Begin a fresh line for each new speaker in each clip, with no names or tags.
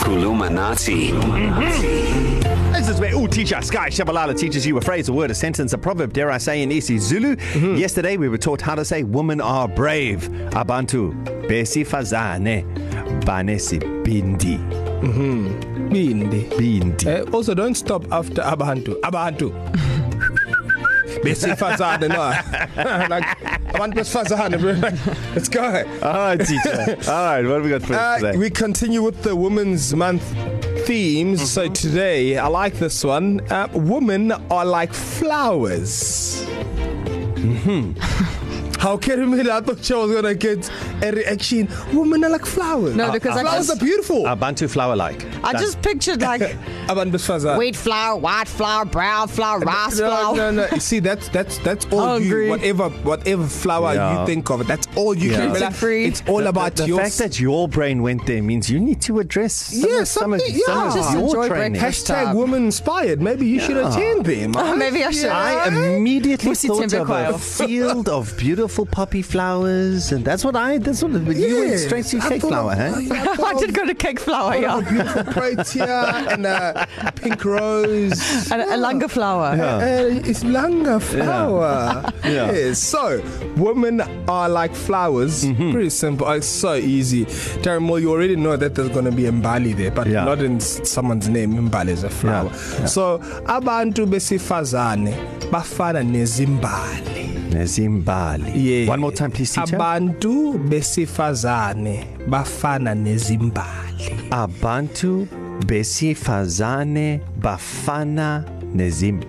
Kulumanati.
This is where, ooh, teacher, Sky Shabalala teaches you a phrase, a word, a sentence, a proverb, dare I say, in isiZulu. Mm-hmm. Yesterday, we were taught how to say, women are brave. Abantu, besifazane, banesibindi.
Bindi.
Bindi.
Uh, also, don't stop after abantu. Abantu. Besifazane, no. like, abantu besifazane, bro. Like, let's go.
All right, teacher. All right, what have we got for us
Uh,
today?
we continue with the Women's Month themes. Mm-hmm. So today, I like this one. Uh, women are like flowers. Mm-hmm. How can we? I thought she was gonna get a reaction. Women are like flowers. Uh,
No, because I
flowers
just-
are beautiful.
Abantu flower like.
I just pictured like
Abantu besifazane.
wheat flour, white flour, brown flour, rice
No,
flour.
no, no. You see, that's that's that's all
Hungry.
you. Whatever, whatever flower yeah.
Yeah.
you think of, that's all you
Yeah.
yeah.
Gluten
can.
free.
It's all about
The
your.
fact that your brain went there means you need to address some,
Yeah,
of, some, of,
something-
some
yeah.
of
Just
your
enjoy
training.
breakfast.
Hashtag
Stop.
woman inspired. Maybe you yeah. should attend them.
Oh, maybe I should.
I immediately
Musi
thought of a
Tembekwayo.
field of beautiful poppy flowers, and that's what I. That's what yeah. you went straight to cake flower, huh?
Oh.
I did go to cake flour, yeah.
Beautiful protea and a pink rose.
And a langar flour. Yeah.
Uh, it's langa flower. Yeah.
Yeah.
Yes. So, women are like flowers. Mm-hmm. Pretty simple. It's so easy. Darren Moore, you already know that there's going to be Mbali there, but
Yeah.
yeah. not in s- someone's name. Mbali is a flower. Yeah. Yeah. So, abantu besifazane bafana nezimbali.
Zimbali.
Yeah.
One more time, please, teacher.
Abantu besifazane bafana nezimbali.
Abantu besifazane bafana nezim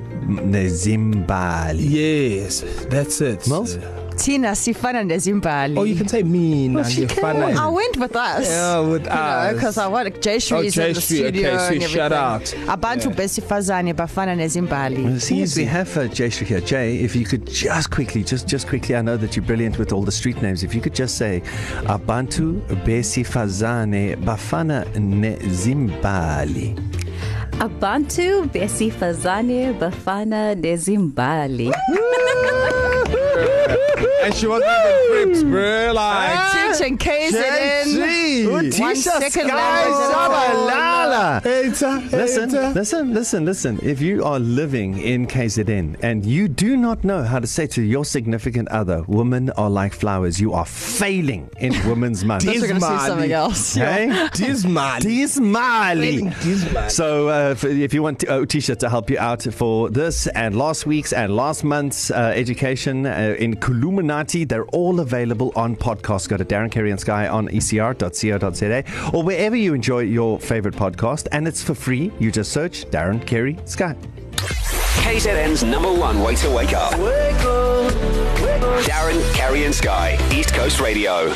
nezimbali.
Yes, that's it.
Miles?
Tina sifana nezimbali.
Or Oh, you can say mina
Well, she can.
ngifana-
I went with us.
Yeah, with
you
us.
Because I want Jay Shri
Oh,
is
Jay
in the
Shree,
studio.
okay, so
and
shout
everything. Abantu yeah. besifazane
Well,
bafana nezimbali.
See, as we have uh, Jay Shri here, Jay, if you could just quickly, just just quickly, I know that you're brilliant with all the street names. If you could just say, Abantu besifazane bafana nezimbali.
Abantu besifazane bafana nezimbali.
And she wasn't even grips, bro. Like,
Attention, KZN. One second
Ah. Listen, listen, listen, listen. If you are living in KZN and you do not know how to say to your significant other, women are like flowers, you are failing in Women's Month.
We're going to see
Ismali.
something else.
Hey?
Dismal.
Dismali.
Dismali.
So, uh, if- if you want uh, Utisha to help you out for this and last week's and last month's uh, education uh, in Kuluminati, they're all available on podcast. Go to Darren Kerry and Sky on E ecr.co.za or wherever you enjoy your favorite podcast, and it's for free. You just search Darren Kerry Sky.
KZN's number one way to wake up. Darren, Carrie, and Sky, East Coast Radio.